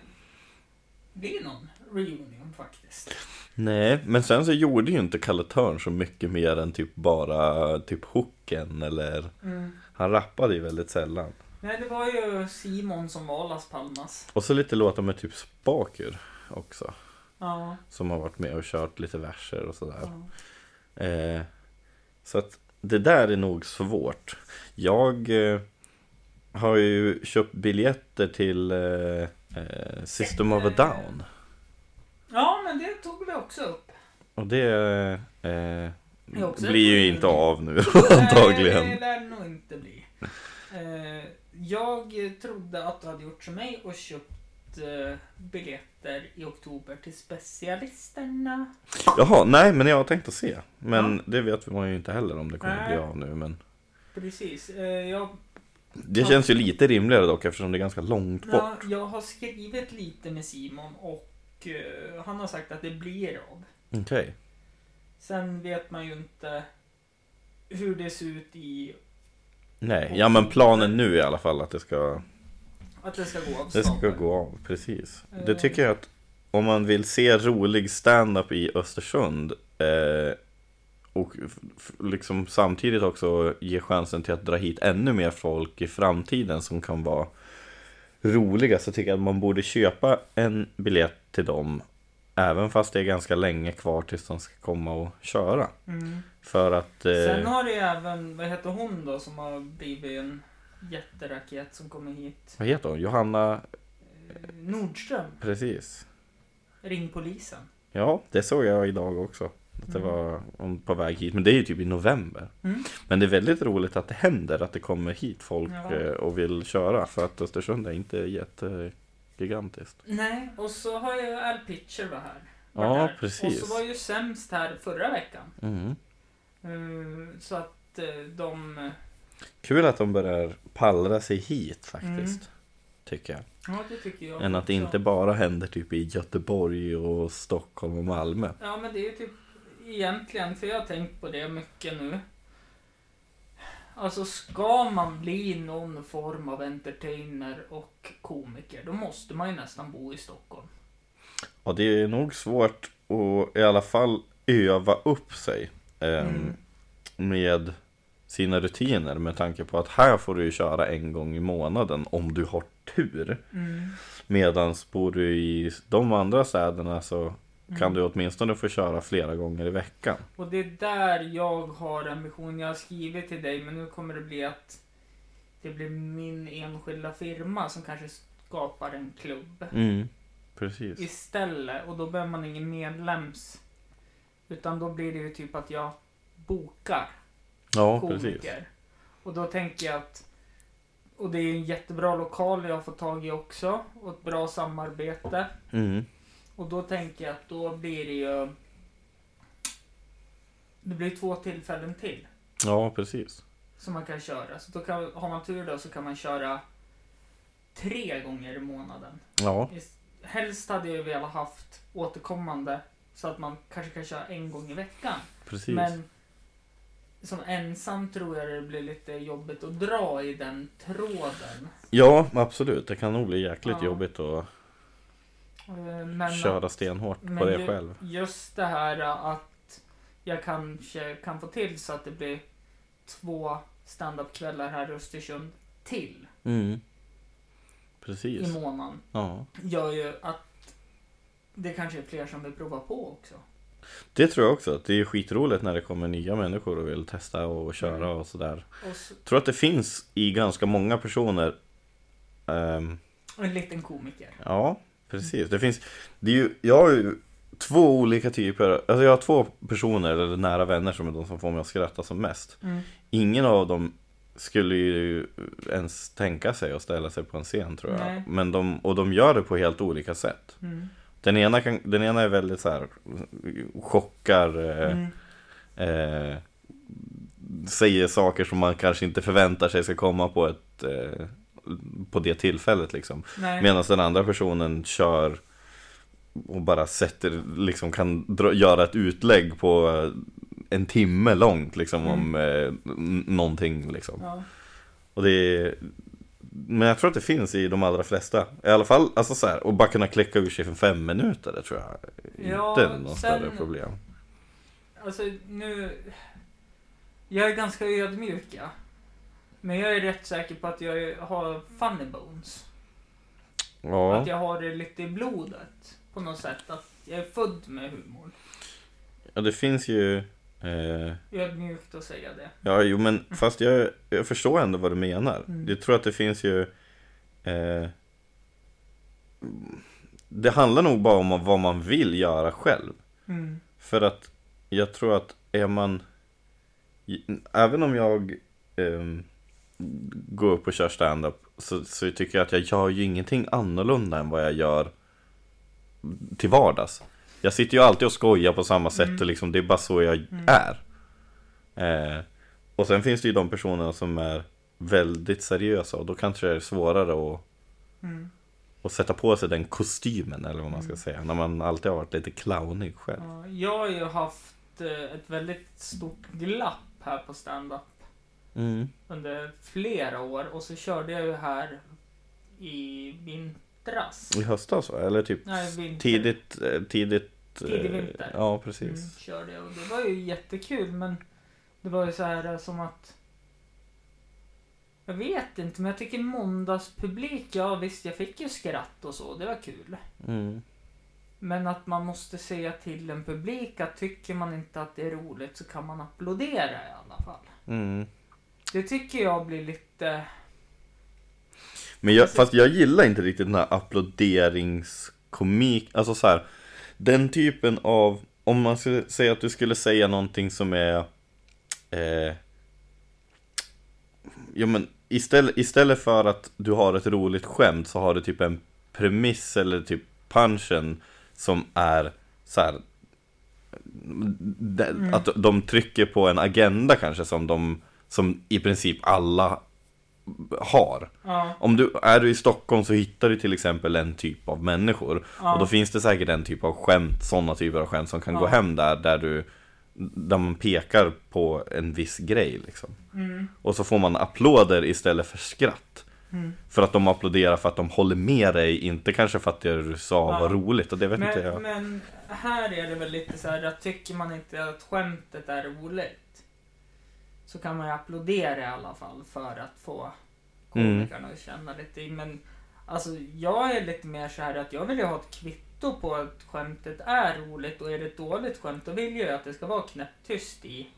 A: bli någon reunion faktiskt.
B: Nej, men sen så gjorde ju inte Kalle Törn så mycket mer än typ bara typ hooken eller Han rappade ju väldigt sällan.
A: Mm. Nej, det var ju Simon som var Las Palmas.
B: Och så lite låtar med typ Spaker också.
A: Ja.
B: Som har varit med och kört lite verser och sådär.
A: ja.
B: Eh, så att det där är nog svårt. Jag eh, har ju köpt biljetter till eh, eh, System of a Down.
A: Ja, men det tog vi också upp.
B: Och det eh,
A: är också
B: blir ju
A: ett-
B: inte av nu
A: Nej, det
B: antagligen.
A: lär det nog inte bli. Eh, jag trodde att du hade gjort som mig och köpt eh, biljetter i oktober till specialisterna.
B: Jaha, nej men jag har tänkt att se. Men det vet man ju inte heller om det kommer att bli
A: Nej.
B: av nu. Men
A: Precis. Eh, jag,
B: det
A: Ja.
B: känns ju lite rimligare dock eftersom det är ganska långt bort.
A: jag, jag har skrivit lite med Simon och eh, han har sagt att det blir av.
B: Okej.
A: Sen vet man ju inte hur det ser ut i
B: Nej, ja men planen nu i alla fall att det ska,
A: att det ska gå av
B: det ska
A: stapeln.
B: gå av. Precis. Det
A: Eh.
B: tycker jag att om man vill se rolig stand-up i Östersund eh, och f- f- liksom samtidigt också ge chansen till att dra hit ännu mer folk i framtiden som kan vara roliga så tycker jag att man borde köpa en biljett till dem även fast det är ganska länge kvar tills de ska komma och köra.
A: Mm.
B: För att... eh,
A: Sen har det ju även, vad heter hon då som har blivit en jätteraket som kommer hit?
B: Vad heter hon? Johanna...
A: Eh, Nordström,
B: Precis.
A: ring polisen.
B: Ja, det såg jag idag också. Att det var om- på väg hit. Men det är ju typ i november.
A: Mm.
B: Men det är väldigt roligt att det händer, att det kommer hit folk
A: Ja.
B: eh, och vill köra. För att Östersund är inte jättegigantiskt.
A: Nej, och så har ju Al Pitcher var här. Var
B: Ja,
A: här.
B: precis.
A: Och så var ju sämst här förra veckan.
B: Mm.
A: Eh, Så att eh, de...
B: Kul att de börjar pallra sig hit faktiskt. Tycker jag.
A: Mm. Ja, det tycker jag
B: Än att det
A: också.
B: inte bara händer typ i Göteborg och Stockholm och Malmö.
A: Ja, men det är ju typ egentligen, för jag har tänkt på det mycket nu. Alltså ska man bli någon form av entertainer och komiker, då måste man ju nästan bo i Stockholm.
B: Ja, det är nog svårt att i alla fall öva upp sig ehm,
A: Mm.
B: med sina rutiner med tanke på att här får du ju köra en gång i månaden om du har tur. Mm. Medan bor du i de andra städerna så
A: Mm.
B: kan du åtminstone få köra flera gånger i veckan.
A: Och det är där jag har ambition. Jag har skrivit till dig, men nu kommer det bli att det blir min enskilda firma som kanske skapar en klubb
B: Precis.
A: istället. Och då behöver man ingen medlems. Utan då blir det ju typ att jag bokar.
B: Ja, precis.
A: komiker. Och då tänker jag att och det är en jättebra lokal jag har fått tag i också och ett bra samarbete.
B: Mm.
A: Och då tänker jag att då blir det ju Det blir två tillfällen till
B: Ja, precis.
A: som man kan köra. Så då kan, har man tur då så kan man köra tre gånger i månaden.
B: Ja,
A: Is- Helst hade jag ju velat haft återkommande så att man kanske kan köra en gång i veckan.
B: precis.
A: Men som ensam tror jag det blir lite jobbigt att dra i den tråden.
B: Ja, absolut. Det kan nog bli jäkligt
A: Ja.
B: jobbigt att
A: Eh, Men
B: köra stenhårt på
A: men
B: det
A: ju-
B: själv.
A: Just det här att jag kanske kan få till så att det blir två standupkvällar här i Östersund till
B: Mm. Precis.
A: i månaden
B: Ja.
A: gör ju att det kanske är fler som vill prova på också.
B: Det tror jag också. Det är skitroligt när det kommer nya människor och vill testa och köra och sådär.
A: Och så,
B: tror att det finns i ganska många personer. Ehm,
A: en liten komiker.
B: ja, precis. Det finns. Det är ju, jag har ju två olika typer. Alltså jag har två personer eller nära vänner som är de som får mig att skratta som mest.
A: Mm.
B: Ingen av dem skulle ju ens tänka sig att ställa sig på en scen tror jag.
A: Nej.
B: Men de, och de gör det på helt olika sätt.
A: Mm.
B: Den ena, kan, den ena är väldigt så här chockar, eh,
A: Mm.
B: eh, säger saker som man kanske inte förväntar sig ska komma på, ett, eh, på det tillfället. Liksom.
A: Nej.
B: Medan den andra personen kör och bara sätter, liksom kan dra, göra ett utlägg på eh, en timme långt liksom, om eh, n- någonting. Liksom.
A: Ja.
B: Och det är... Men jag tror att det finns i de allra flesta. I alla fall, alltså så här, och bara kunna kläcka ur sig för fem minuter, det tror jag
A: Ja,
B: inte är något
A: sen-
B: större problem.
A: Alltså nu... Jag är ganska ödmjuk ja. Men jag är rätt säker på att jag har funny bones.
B: Ja,
A: Att jag har det lite i blodet. På något sätt. Att jag är född med humor.
B: ja det finns ju... Eh,
A: Ödmjukt att säga det.
B: ja, jo men fast jag, jag förstår ändå vad du menar.
A: Mm.
B: Jag tror att det finns ju... Eh, det handlar nog bara om vad man vill göra själv.
A: Mm.
B: För att jag tror att är man Även om jag ehm, går upp och kör stand-up så, så tycker jag att jag gör ju ingenting annorlunda än vad jag gör till vardags. Jag sitter ju alltid och skojar på samma sätt och liksom, det är bara så jag är. Eh, och sen finns det ju de personerna som är väldigt seriösa och då kanske det är svårare att,
A: Mm.
B: att sätta på sig den kostymen eller vad man ska säga. När man alltid har varit lite clownig själv.
A: Ja, jag har ju haft eh, ett väldigt stort glapp här på stand-up
B: Mm.
A: under flera år. Och så körde jag ju här i vintras.
B: I höstas va? Eller typ
A: Nej, vinter.
B: tidigt, eh, tidigt... eh,
A: Tidig vinter.
B: Ja, precis.
A: Mm, körde jag och det var ju jättekul men det var ju så här eh, som att jag vet inte men jag tycker måndagspublik, ja visst jag fick ju skratt och så, det var kul.
B: Mm.
A: Men att man måste säga till en publik att tycker man inte att det är roligt så kan man applådera i alla fall.
B: Mm.
A: Det tycker jag blir lite...
B: Men jag, fast jag gillar inte riktigt den här applåderingskomik, alltså så här, den typen av, om man skulle säga att du skulle säga någonting som är, eh, ja men istället, istället för att du har ett roligt skämt så har du typ en premiss eller typ punchen som är så här, de,
A: Mm.
B: att de trycker på en agenda kanske som de, som i princip alla har.
A: Ja,
B: Om du är du i Stockholm så hittar du till exempel en typ av människor
A: Ja.
B: Och då finns det säkert en typ av skämt, sådana typer av skämt som kan gå
A: Ja.
B: hem där Där du där man pekar på en viss grej liksom
A: mm,
B: Och så får man applåder istället för skratt
A: mm.
B: För att de applåderar för att de håller med dig, inte kanske för att det du sa
A: Ja.
B: var roligt och det vet inte jag
A: Men, men här är det väl lite så här att tycker man inte att skämtet är roligt så kan man ju applådera i alla fall för att få
B: Mm.
A: komikerna att känna lite. Men alltså jag är lite mer så här att jag vill ju ha ett kvitto på att skämtet är roligt och är det ett dåligt skämt då vill jag ju att det ska vara knäpptyst i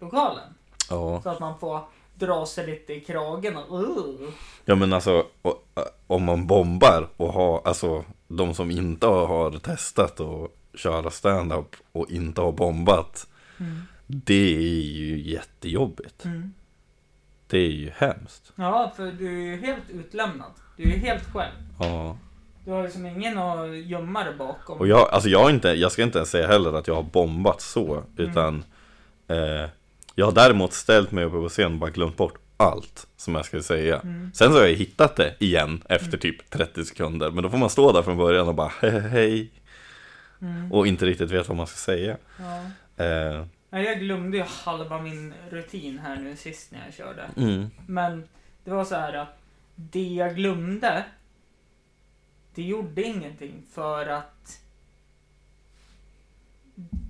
A: lokalen.
B: Ja,
A: Så att man får dra sig lite i kragen och uh.
B: ja men alltså och, äh, om man bombar och har, alltså de som inte har testat att köra stand-up och inte har bombat Det är ju jättejobbigt.
A: Mm.
B: Det är ju hemskt.
A: Ja, för du är ju helt utlämnad. Du är ju helt själv.
B: Ja.
A: Du har ju som ingen att gömma dig bakom.
B: Och jag, alltså jag, har inte, jag ska inte ens säga heller att jag har bombat så,
A: Mm.
B: utan eh, jag har däremot ställt mig uppe på scen och bara glömt bort allt som jag skulle säga.
A: Mm,
B: Sen så har jag hittat det igen efter typ 30 sekunder, men då får man stå där från början och bara "He- hej
A: Mm.
B: och inte riktigt vet vad man ska säga.
A: Ja.
B: Eh,
A: Nej, jag glömde ju halva min rutin här nu sist när jag körde.
B: mm,
A: Men det var så här att det jag glömde, det gjorde ingenting för att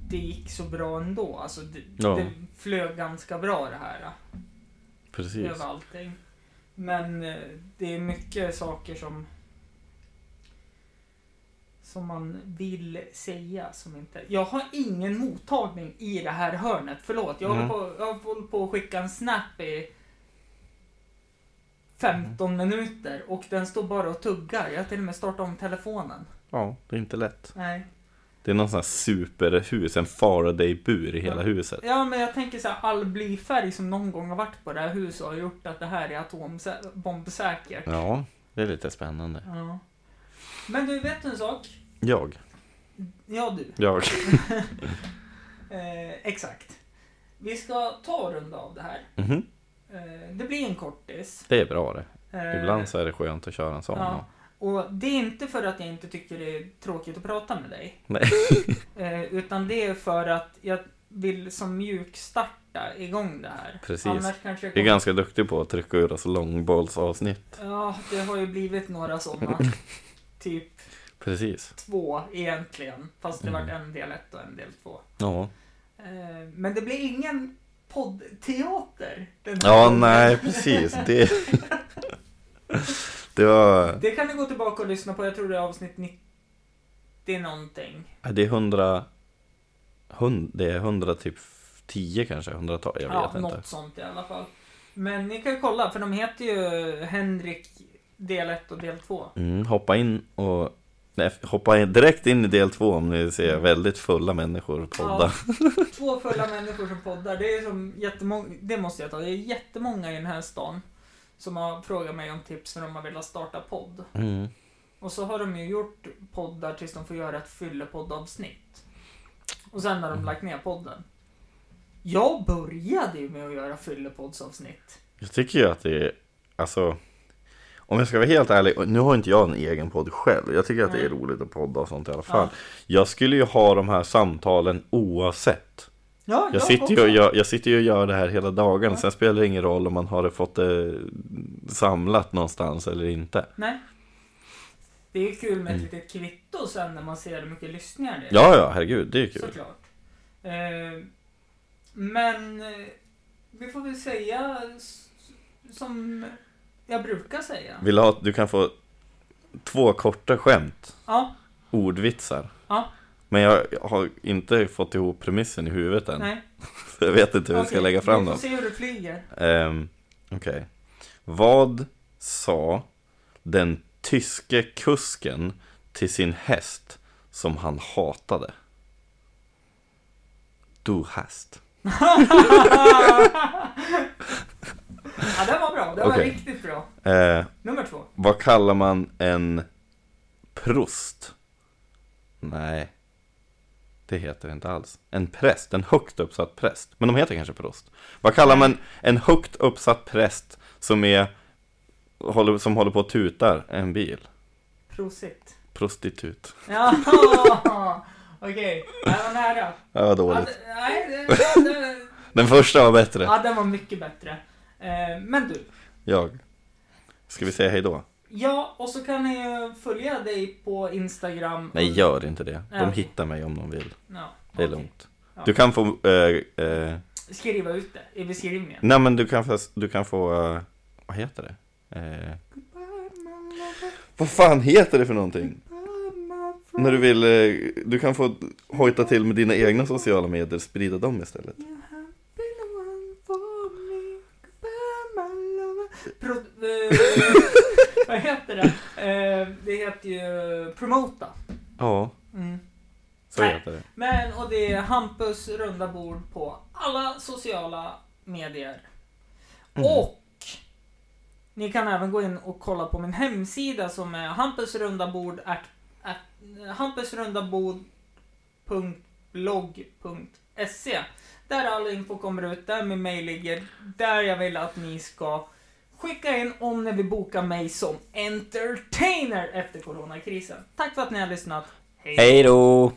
A: det gick så bra ändå. Alltså det,
B: Ja.
A: det flög ganska bra det här.
B: Precis.
A: över allting. Men eh, det är mycket saker som som man vill säga som inte... Jag har ingen mottagning i det här hörnet. Förlåt, jag håller
B: Mm.
A: på, jag håller på att skicka en snap i 15
B: Mm.
A: minuter och den står bara och tuggar. Jag har till och med startat om telefonen.
B: Ja, det är inte lätt.
A: Nej.
B: Det är någon sån här superhus, en Faraday-bur i hela
A: Ja.
B: huset.
A: Ja, men jag tänker så här, all blyfärg som någon gång har varit på det här huset har gjort att det här är atombombsäkert.
B: Ja, det är lite spännande.
A: Ja. Men du, vet du en sak?
B: Jag.
A: Ja, du.
B: Jag.
A: Eh, exakt. Vi ska ta och runda av det här.
B: Mhm.
A: Eh, det blir en kortis.
B: Det är bra det.
A: Eh,
B: Ibland så är det skönt att köra en sån.
A: Ja. Och det är inte för att jag inte tycker det är tråkigt att prata med dig.
B: Nej.
A: [laughs] Eh, utan det är för att jag vill som mjukstarta igång det här.
B: Precis.
A: Annars kanske jag
B: Vi är
A: kommer...
B: ganska duktiga på att trycka ur oss långbollsavsnitt.
A: Ja, det har ju blivit några
B: [laughs]
A: sådana. typ
B: Precis.
A: två egentligen. Fast det
B: Mm.
A: vart en del ett och en del två.
B: Ja.
A: Eh, Men det blir ingen poddteater. den här
B: Ja,
A: gången.
B: nej, precis. Det... [laughs] det var...
A: Det kan ni gå tillbaka och lyssna på. Jag tror det är avsnitt 90 någonting.
B: Ja, Det är hundra... Hund... Det är hundra typ tio kanske, hundratal. Jag
A: ja,
B: vet inte.
A: något sånt i alla fall. Men ni kan ju kolla, för de heter ju Henrik del 1 och del 2.
B: Mm, hoppa in och... Nej, hoppa in, direkt in i del två om ni ser
A: Mm.
B: väldigt fulla människor podda.
A: Två fulla människor som poddar. Det är som jättemånga, det måste jag ta, det är jättemånga i den här stan som har frågat mig om tips när de har velat starta podd.
B: Mm.
A: Och så har de ju gjort poddar tills de får göra ett fyllepoddavsnitt. Och sen
B: Mm.
A: har de lagt ner podden. Jag började ju med att göra fyllepoddsavsnitt.
B: Jag tycker ju att det är... Alltså... Om jag ska vara helt ärlig, och nu har inte jag en egen podd själv. Jag tycker att det är
A: Nej.
B: roligt att podda och sånt i alla
A: Ja.
B: fall. Jag skulle ju ha de här samtalen oavsett.
A: Ja,
B: Jag sitter, ju
A: också.
B: och gör, jag sitter ju och gör det här hela dagen,
A: Ja.
B: sen spelar det ingen roll om man har det fått det samlat någonstans eller inte.
A: Nej. Det är kul med ett litet kvitto sen när man ser hur mycket lyssningar det är.
B: Mm. Ja, ja, herregud, det är ju kul.
A: Såklart. Eh, men eh, vi får väl säga s- som jag brukar säga.
B: Vill du ha, du kan få två korta skämt,
A: Ja,
B: ordvitsar.
A: Ja.
B: Men jag har inte fått ihop premissen i huvudet än,
A: nej.
B: så [laughs] jag vet inte hur vi ska
A: Okej,
B: lägga fram
A: Vi
B: dem.
A: får se hur det flyger.
B: Ehm, Okej. Vad sa den tyske kusken till sin häst som han hatade? Du häst.
A: Ja, den var bra. Den var
B: Okej.
A: riktigt bra.
B: Eh,
A: Nummer två.
B: vad kallar man en prost? Nej, det heter det inte alls. En präst, en högt uppsatt präst. Men de heter kanske prost. Vad kallar man en högt uppsatt präst som, är, håller, som håller på och tutar en bil?
A: Prosit.
B: Prostitut.
A: Ja, [laughs] okej. Det här var nära.
B: Ja, vad
A: Ja,
B: dåligt.
A: d- nej, det- det- det-
B: Den första var bättre.
A: Alltså- ja, den var mycket bättre. Eh, Men du.
B: Jag. Ska vi säga hej då?
A: Ja, och så kan ni ju följa dig på Instagram.
B: Nej, gör inte det.
A: Ja,
B: De
A: okej.
B: hittar mig om de vill.
A: Ja,
B: Det är
A: okej.
B: lugnt.
A: Ja.
B: Du kan få... eh, eh,
A: Skriva ut det i beskrivningen.
B: nej, men du kan få... Du kan få eh, vad heter det? Eh, vad fan heter det för någonting? När du vill... eh, du kan få hojta till med dina egna sociala medier, sprida dem istället.
A: Pro, eh, vad heter det? Eh, det heter ju promota.
B: Ja,
A: Mm.
B: så
A: Nej.
B: heter det.
A: Men och det är Hampus runda bord på alla sociala medier. Och ni kan även gå in och kolla på min hemsida som är hampusrundabord at, at, hampusrundabord.blogg.se Där all info kommer ut, där min mail ligger, där jag vill att ni ska skicka in om ni vill boka mig som entertainer efter coronakrisen. Tack för att ni har lyssnat. Hej då!
B: Hej då!